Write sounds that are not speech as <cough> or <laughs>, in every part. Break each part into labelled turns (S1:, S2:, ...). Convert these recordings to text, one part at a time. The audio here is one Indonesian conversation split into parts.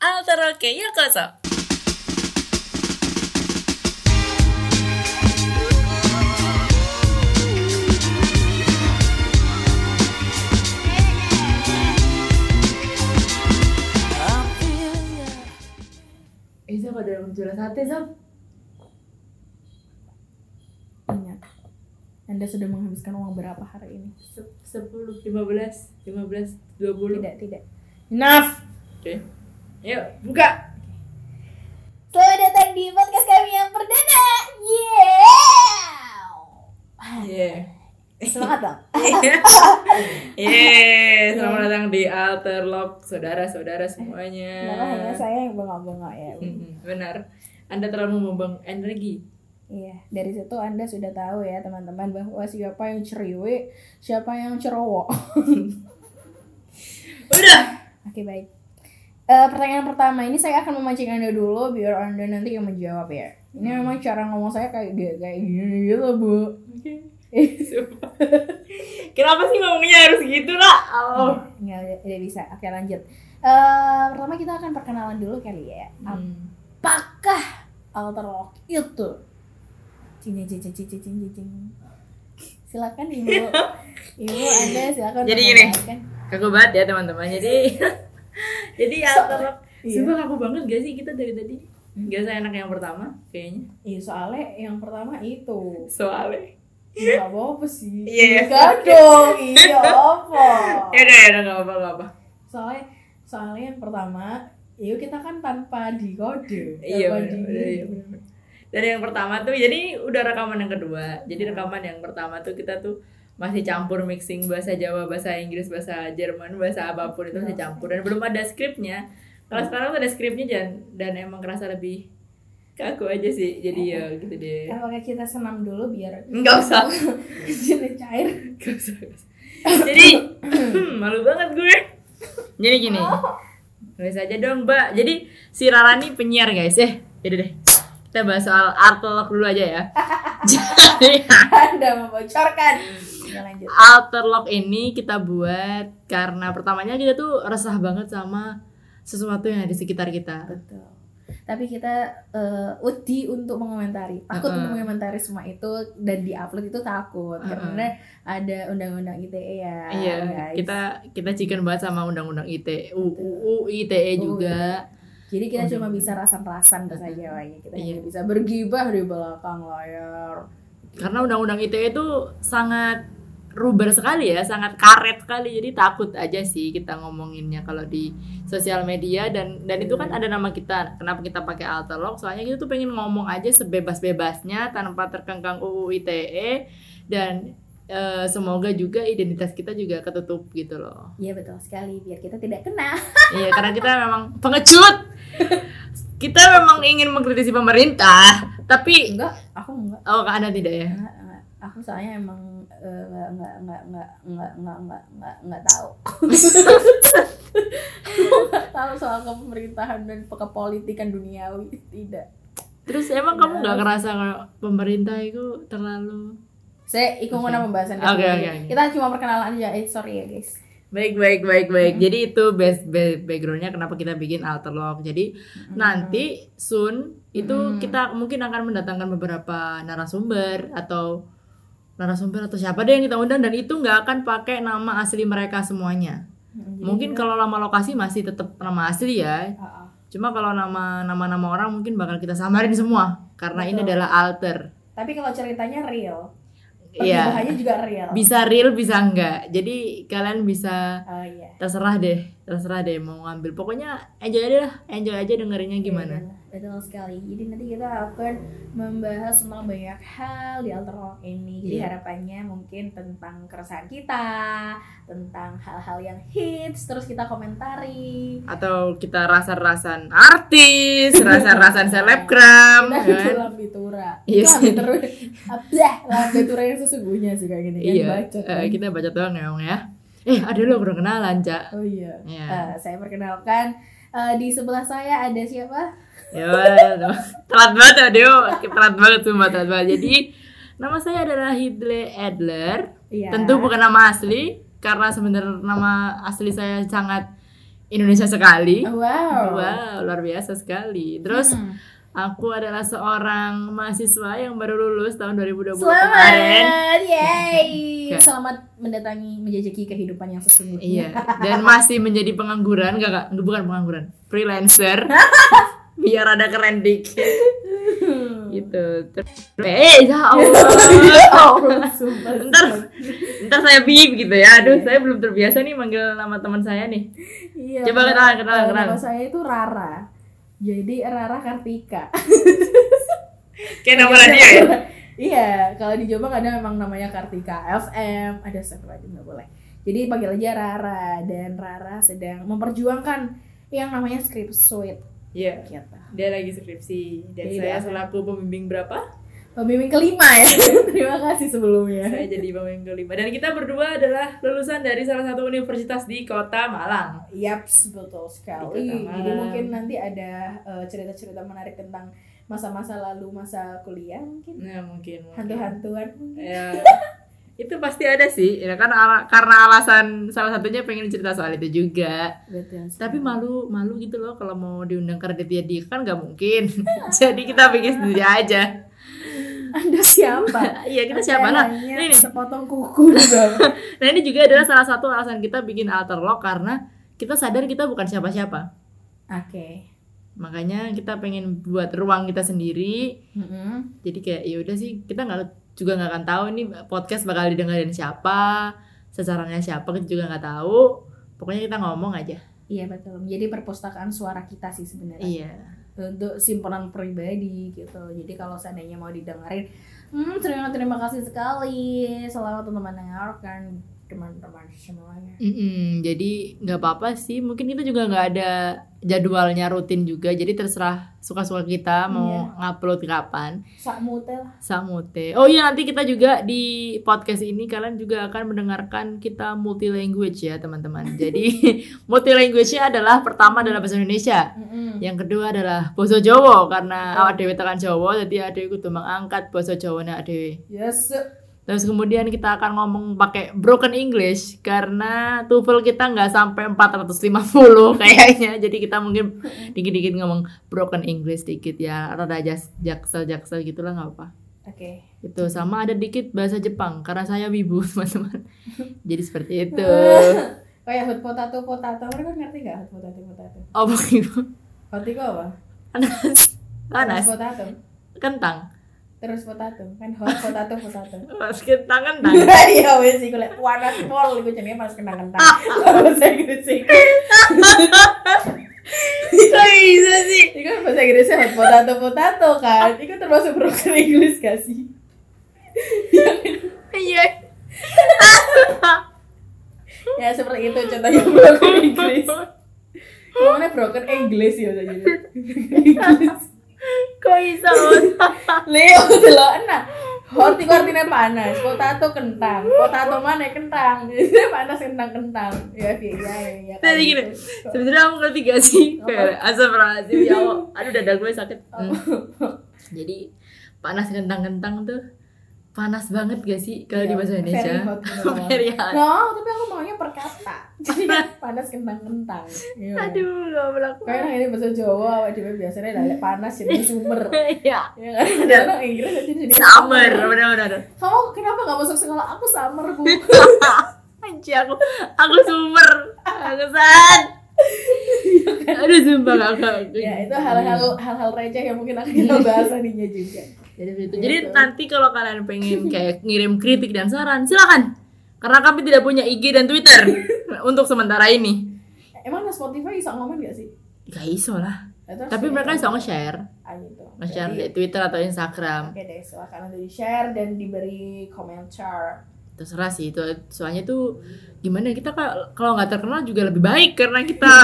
S1: カラオケへようこそ
S2: Eh Zab ada yang jual sate Zab
S3: Ingat, Iya. Anda sudah menghabiskan uang berapa hari ini?
S2: Se- Sepuluh, lima belas, lima belas, dua puluh
S3: Tidak, tidak. Enough!
S2: Oke Ayo buka
S4: Selamat datang di podcast kami yang perdana. Yeah.
S2: Iya
S3: Eh,
S4: Semangat
S3: <laughs>
S4: dong.
S2: Yeay,
S3: Iya.
S2: selamat datang di Alterlog Saudara-saudara semuanya
S3: Kenapa hanya ya. saya yang bengok-bengok ya?
S2: Mm-mm, Benar Anda terlalu membuang energi
S3: Iya, dari situ Anda sudah tahu ya teman-teman bahwa siapa yang ceriwe, siapa yang cerowo. <laughs>
S2: Udah
S3: Oke, baik. Eh, pertanyaan pertama ini saya akan memancing Anda dulu biar Anda nanti yang menjawab ya. Ini memang cara ngomong saya kayak kayak kayak gini gitu, Bu.
S2: <laughs> Sumpah. Kenapa sih ngomongnya harus gitu lah? Oh.
S3: Iya, Nggak, nggak, nggak bisa. Oke, lanjut. Eh, pertama kita akan perkenalan dulu kali ya.
S2: Hmm.
S3: apakah alter lock itu? Cing cing cing cing cing cing cing. Silakan ibu,
S2: <laughs>
S3: ibu anda silakan.
S2: Jadi gini.
S3: menambahkan.
S2: Kaku banget ya teman-teman. Jadi <laughs> jadi Alterlog
S3: Iya.
S2: Sumpah kaku banget gak sih kita dari tadi? Gak seenak yang pertama kayaknya
S3: Iya soalnya yang
S2: <laughs>
S3: pertama itu
S2: Soalnya
S3: nggak apa apa sih.
S2: Iya.
S3: Nggak dong, iya
S2: <laughs>
S3: apa?
S2: Ya udah ya udah gak apa-apa gak apa
S3: Soalnya soalnya yang pertama, yuk kita kan tanpa dikode,
S2: Iya
S3: tanpa
S2: bener,
S3: di-
S2: bener, iya, bener, bener. Dari yang pertama tuh jadi ini udah rekaman yang kedua Jadi rekaman yang pertama tuh kita tuh masih campur mixing bahasa Jawa, bahasa Inggris, bahasa Jerman, bahasa apapun itu masih campur dan belum ada skripnya. Kalau sekarang tuh ada skripnya dan dan emang kerasa lebih kaku aja sih. Jadi ya gitu deh.
S3: Apakah kita senam dulu biar <laughs>
S2: Enggak usah.
S3: jadi cair?
S2: Gak usah, gak
S3: <laughs>
S2: usah. Jadi <clears throat> malu banget gue. Jadi gini. Nulis aja dong, Mbak. Jadi si Rara nih penyiar, guys. Eh, yaudah deh. Kita bahas soal Artlog dulu aja
S3: <laughs>
S2: ya. Jadi
S3: Anda membocorkan. Kita lanjut.
S2: Alterlog ini kita buat karena pertamanya kita tuh resah banget sama sesuatu yang ada di sekitar kita.
S3: Betul. Tapi kita eh, uti untuk mengomentari. Takut
S2: Uh-uh.
S3: untuk mengomentari semua itu dan diupload itu takut
S2: Uh-uh.
S3: karena ada undang-undang ITE ya.
S2: Iya,
S3: guys.
S2: kita kita chicken banget sama undang-undang ITE, UU ITE E juga.
S3: Jadi kita
S2: Undang-
S3: cuma bisa rasan-rasan bahasa
S2: Uh-uh.
S3: Jawanya. Kita
S2: Iya.
S3: hanya bisa bergibah di belakang layar.
S2: karena undang-undang ITE itu sangat ruber sekali ya, sangat karet sekali. Jadi takut aja sih kita ngomonginnya kalau di sosial media dan dan itu kan ada nama kita. Kenapa kita pakai Altalog? Soalnya kita tuh pengen ngomong aja sebebas-bebasnya tanpa terkengkang UU ITE E. dan eh, semoga juga identitas kita juga ketutup gitu loh.
S3: Iya betul sekali biar kita tidak kena.
S2: Iya, karena kita memang pengecut. Kita memang ingin mengkritisi pemerintah, tapi
S3: Enggak, aku enggak.
S2: oh karena tidak ya.
S3: enggak, enggak. Aku soalnya emang eh, enggak enggak enggak enggak enggak enggak enggak enggak enggak
S2: <laughs>
S3: tahu. Enggak tahu soal kepemerintahan dan kepolitikan duniawi tidak.
S2: Terus emang kamu nggak ngerasa kalau pemerintah itu terlalu
S3: Saya ikut mau nama pembahasan kita
S2: Oke,
S3: dulu.
S2: oke, oke.
S3: Kita cuma perkenalan aja. Eh, sorry ya, guys.
S2: baik baik baik baik. Jadi itu base ba- backgroundnya kenapa kita bikin alterlog. Jadi nanti soon itu
S3: Hmm.
S2: kita mungkin akan mendatangkan beberapa narasumber atau narasumber atau siapa deh yang kita undang dan itu nggak akan pakai nama asli mereka semuanya.
S3: Mm, jadi
S2: Mungkin
S3: kita-
S2: kalau nama lokasi masih tetap nama asli ya.
S3: Ah, ah.
S2: Cuma kalau nama nama nama orang mungkin bakal kita samarin semua karena ini
S3: Betul.
S2: adalah alter.
S3: Tapi kalau ceritanya real,
S2: Iya.
S3: pergibahannya juga real.
S2: bisa real bisa enggak jadi kalian bisa
S3: oh iya.
S2: terserah deh terserah deh mau ngambil pokoknya enjoy aja lah enjoy aja dengerinnya gimana
S3: Iya, Betul sekali. Jadi nanti kita akan membahas tentang banyak hal di Alterok ini. Jadi
S2: Iya.
S3: harapannya mungkin tentang keresahan kita, tentang hal-hal yang hits, terus kita komentari.
S2: atau kita rasa-rasan artis
S3: <laughs>
S2: rasa-rasan selebgram
S3: Kita Nah, itu
S2: kan?
S3: lambitura.
S2: Iya
S3: Itu
S2: sih.
S3: lambitura. Abdah, lambitura yang sesungguhnya sih kayak gini. kan,
S2: iya
S3: bacot,
S2: eh,
S3: kan.
S2: kita baca doang ya Ong, ya eh ada lo belum kenalan cak
S3: Oh iya.
S2: ya
S3: Eh, saya perkenalkan eh, di sebelah saya ada siapa?
S2: ya waduh. telat banget ya Deo telat banget sumpah telat banget jadi nama saya adalah Hidle Adler
S3: Iya.
S2: Tentu bukan nama asli karena sebenarnya nama asli saya sangat Indonesia sekali.
S3: Wow.
S2: Wow, luar biasa sekali. Terus
S3: Hmm.
S2: aku adalah seorang mahasiswa yang baru lulus tahun 2020 kemarin.
S3: Selamat, yay!
S2: Oke.
S3: Selamat mendatangi menjajaki kehidupan yang sesungguhnya. <laughs>
S2: Iya, dan masih menjadi pengangguran, enggak, enggak, bukan pengangguran, freelancer. Biar ada keren dikit gitu. Ter- Eh, ya
S3: <laughs> Oh,
S2: Allah. Ntar, ntar saya bip gitu ya. Aduh, saya belum terbiasa nih manggil nama teman saya nih.
S3: Iya,
S2: Coba
S3: Mbak.
S2: kenalan, kenalan,
S3: Eh,
S2: kenalan.
S3: Nama saya itu Rara. Jadi Rara Kartika.
S2: Kayak nama radio ya.
S3: <laughs> iya, kalau di Jombang ada memang namanya Kartika FM, ada satu lagi nggak boleh. Jadi panggil aja Rara dan Rara sedang memperjuangkan yang namanya script suite
S2: Iya,
S3: gitu.
S2: dia lagi skripsi dan
S3: Iya.
S2: saya selaku pembimbing berapa?
S3: Pembimbing kelima <laughs> ya. Terima kasih sebelumnya.
S2: Saya
S3: <laughs>
S2: jadi pembimbing kelima dan kita berdua adalah lulusan dari salah satu universitas di Kota Malang.
S3: Yaps, betul sekali.
S2: Ikut
S3: Jadi
S2: amalan.
S3: mungkin nanti ada eh, cerita-cerita menarik tentang masa-masa lalu masa kuliah mungkin.
S2: Nah, mungkin. mungkin.
S3: Hantu-hantuan mungkin.
S2: Ya, <laughs> itu pasti ada sih ya kan ala- karena alasan salah satunya pengen cerita soal itu juga
S3: Betul.
S2: tapi malu malu gitu loh kalau mau diundang ke Raditya Dika kan nggak mungkin <laughs> jadi kita bikin sendiri aja
S3: Anda siapa?
S2: iya <laughs> kita siapa lah
S3: Hanya
S2: Ini nih.
S3: sepotong kuku
S2: <laughs>
S3: juga.
S2: nah ini juga adalah salah satu alasan kita bikin alter Lock karena kita sadar kita bukan siapa-siapa
S3: Oke.
S2: makanya kita pengen buat ruang kita sendiri
S3: Mm-mm.
S2: jadi kayak ya udah sih kita nggak juga nggak akan tahu nih podcast bakal didengarin siapa sasarannya siapa kita juga nggak tahu pokoknya kita ngomong aja
S3: Iya betul. Jadi perpustakaan suara kita sih sebenarnya
S2: Iya.
S3: untuk simpenan pribadi gitu. Jadi kalau seandainya mau didengerin, hmm, terima terima kasih sekali. Selamat teman-teman mendengarkan teman-teman semuanya.
S2: Mm-mm, jadi nggak apa-apa sih. Mungkin kita juga nggak ada jadwalnya rutin juga. Jadi terserah suka-suka kita mau
S3: Iya.
S2: ngupload kapan.
S3: Sakmute lah.
S2: Samute. Oh iya nanti kita juga di podcast ini kalian juga akan mendengarkan kita multi language ya teman-teman. <laughs> Jadi multi language-nya adalah pertama adalah bahasa Indonesia.
S3: Mm-mm.
S2: Yang kedua adalah Boso Jawa
S3: Betul.
S2: karena awak dewe tekan Jawa jadi adewe kudu mengangkat Boso Jawane adewe.
S3: Yes.
S2: Terus kemudian kita akan ngomong pakai broken English karena TOEFL kita nggak sampai <laughs> 450 kayaknya. Jadi kita mungkin dikit-dikit ngomong broken English dikit ya atau ada jas- jaksel-jaksel gitulah nggak apa.
S3: Oke.
S2: Itu sama ada dikit bahasa Jepang karena saya wibu <laughs> teman-teman. Jadi seperti <laughs> itu.
S3: Kayak hot potato potato, mereka kan ngerti gak hot potato potato?
S2: Oh wibu.
S3: Hot itu apa?
S2: Panas. Panas.
S3: Hot potato.
S2: Kentang.
S3: Terus potato. Kan hot potato potato.
S2: Mas kentang kentang. <laughs>
S3: <laughs> Iya wes sih golek panas pol iku jenenge mas kenang-kenang. Bahasa Inggris sih.
S2: Bisa sih.
S3: Iku bahasa Inggrisnya hot potato potato kan. Iku termasuk broker Inggris gak sih?
S2: Iya.
S3: Ya seperti itu contohnya <laughs> broker Inggris. Gimana broker Inggris ya jadi. <laughs> Inggris.
S2: Kok bisa?
S3: Leo <laughs> delok nah. Hot iku artinya panas, potato kentang. Potato mana kentang? <laughs> Jadi panas kentang-kentang. Ya iya iya.
S2: Tadi gini, sebenarnya aku ngerti gak sih kayak asap rahasia ya
S3: <laughs>
S2: Allah. aduh dada gue sakit Hmm.
S3: Oh.
S2: jadi panas kentang-kentang tuh panas banget gak sih kalau di
S3: Iya,
S2: bahasa Indonesia Very hot.
S3: gitu No, tapi aku maunya perkata. <laughs> Jadi kan panas kentang-kentang. Iya.
S2: aduh gak berlaku
S3: Kayak orang ini bahasa Jawa, awak dhewe biasanya lalek panas
S2: <laughs>
S3: jadi sumber.
S2: ya
S3: Ya kan? Ada orang Inggris aja jadi
S2: summer benar-benar
S3: Kamu kenapa gak masuk sekolah? Aku summer,
S2: <laughs>
S3: Bu.
S2: Anci aku aku sumber aku sad aduh sumpah gak gak-
S3: ya, Iya, kan? itu hal-hal hal-hal receh yang mungkin akan
S2: <laughs>
S3: kita bahas harinya juga.
S2: Jadi seperti itu. Jadi nanti kalau kalian pengen kayak ngirim kritik dan saran, silakan. Karena kami tidak punya IG dan Twitter <laughs> untuk sementara ini.
S3: Emang ada Spotify bisa ngomong gak sih?
S2: Gak iso lah.
S3: Nah, terus
S2: Tapi
S3: ya,
S2: mereka bisa nge-share,
S3: ah, gitu.
S2: nge-share di
S3: Jadi,
S2: Twitter atau Instagram.
S3: Oke deh, silakan nanti di share dan diberi komentar.
S2: Terserah sih itu. Soalnya tuh gimana ya, kita ka- kalau nggak terkenal juga lebih baik karena
S3: <laughs>
S2: kita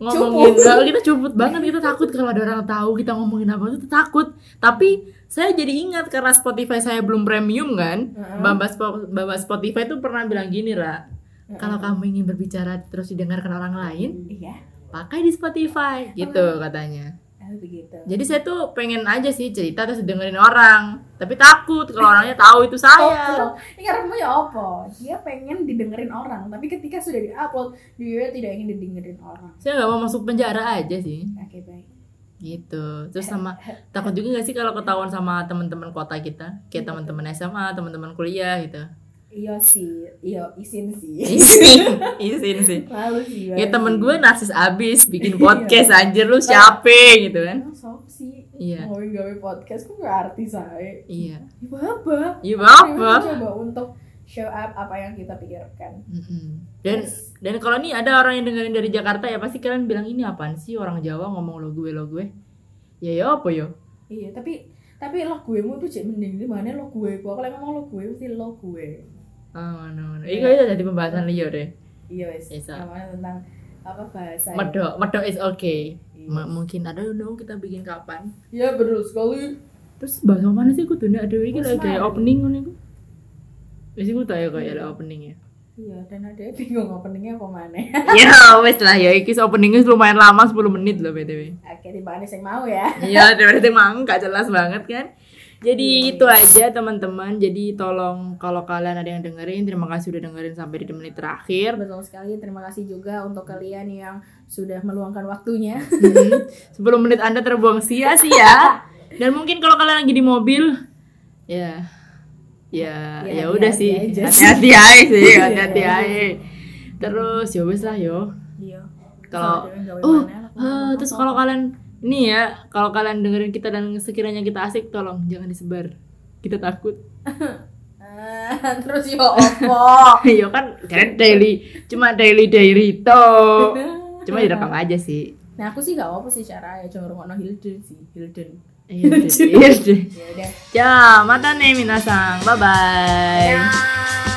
S2: ngomongin
S3: Cuput.
S2: kalau kita cuput banget kita takut kalau ada orang tahu kita ngomongin apa itu takut tapi saya jadi ingat karena Spotify saya belum premium kan
S3: Heeh.
S2: Bamba, Spo- Bamba Spotify tuh pernah bilang gini lah Kalau kamu ingin berbicara terus didengarkan orang lain,
S3: iya,
S2: pakai di Spotify gitu katanya.
S3: Oh, begitu.
S2: Jadi saya tuh pengen aja sih cerita terus dengerin orang, tapi takut kalau orangnya tahu itu saya.
S3: Opo. <laughs> Ini karena punya Oppo, dia pengen didengerin orang, tapi ketika sudah diupload, dia tidak ingin didengerin orang.
S2: Saya nggak mau masuk penjara aja sih,
S3: Oke baik.
S2: gitu. Terus sama takut juga nggak sih kalau ketahuan sama teman-teman kota kita, kayak teman-teman SMA, teman-teman kuliah gitu.
S3: Iya sih, iya isin sih.
S2: Izin, izin sih.
S3: <laughs> Malu sih.
S2: Ya
S3: banget
S2: temen
S3: sih.
S2: gue narsis abis bikin podcast anjir lu siapa gitu kan.
S3: Emang sok sih.
S2: Iya.
S3: Mau gawe podcast kok gak artis aja.
S2: Iya.
S3: Ya apa?
S2: Iya
S3: Kita
S2: apa?
S3: coba untuk show up apa yang kita pikirkan.
S2: Mm-mm. Dan
S3: Terus,
S2: dan kalau nih ada orang yang dengerin dari Jakarta ya pasti kalian bilang ini apaan sih orang Jawa ngomong lo gue lo gue. Ya ya apa yo?
S3: Iya, tapi tapi lo gue mu tuh cek mending di mana lo gue gua kalau ngomong lo gue mesti lo gue.
S2: Oh, no, no. Iku itu jadi pembahasan Leo deh.
S3: Iya wes.
S2: Bisa.
S3: Ngomongnya tentang apa bahasa.
S2: Medok, medok is okay.
S3: Iya.
S2: M- mungkin ada dong kita bikin kapan.
S3: Iya betul sekali.
S2: Terus bahasa mana sih kudunya ada iki lagi
S3: Usman.
S2: kayak opening ngono iku. Wis iku tak ya kayak ada opening ya.
S3: Iya, dan ada yang bingung openingnya apa
S2: <laughs>
S3: mana. <laughs>
S2: Ya wes lah ya iki openingnya lumayan lama 10 menit loh BTW.
S3: Oke, di mana yang mau ya?
S2: Iya, berarti emang gak jelas banget kan.
S3: Iya.
S2: Jadi itu aja teman-teman. Jadi tolong kalau kalian ada yang dengerin, terima kasih udah dengerin sampai di menit terakhir.
S3: Betul sekali. Terima kasih juga untuk kalian yang sudah meluangkan waktunya.
S2: Hmm, 10 menit Anda terbuang
S3: <laughs> Iya.
S2: sia-sia. Dan mungkin kalau kalian lagi di mobil, ya ya
S3: Ya,
S2: ya udah
S3: hati-hati
S2: sih.
S3: aja sih.
S2: Hati-hati aja sih,
S3: Iya.
S2: hati-hati aja. Terus ya wes lah yo.
S3: <laughs> Iya.
S2: Kalau-
S3: oh,
S2: Oh, eh, terus kalau kalian ini ya, kalau kalian dengerin kita dan sekiranya kita asik, tolong jangan disebar. Kita takut. eh,
S3: <laughs> terus yo opo.
S2: <laughs> Iya kan kan daily cuma daily diary <laughs> to. Cuma direkam aja sih.
S3: Nah, aku sih gak apa sih cara ya cuma rungokno Hilden sih, Hilden.
S2: Iya deh.
S3: Ya udah.
S2: Ya, mata nih minasang. Bye bye.
S3: Dah.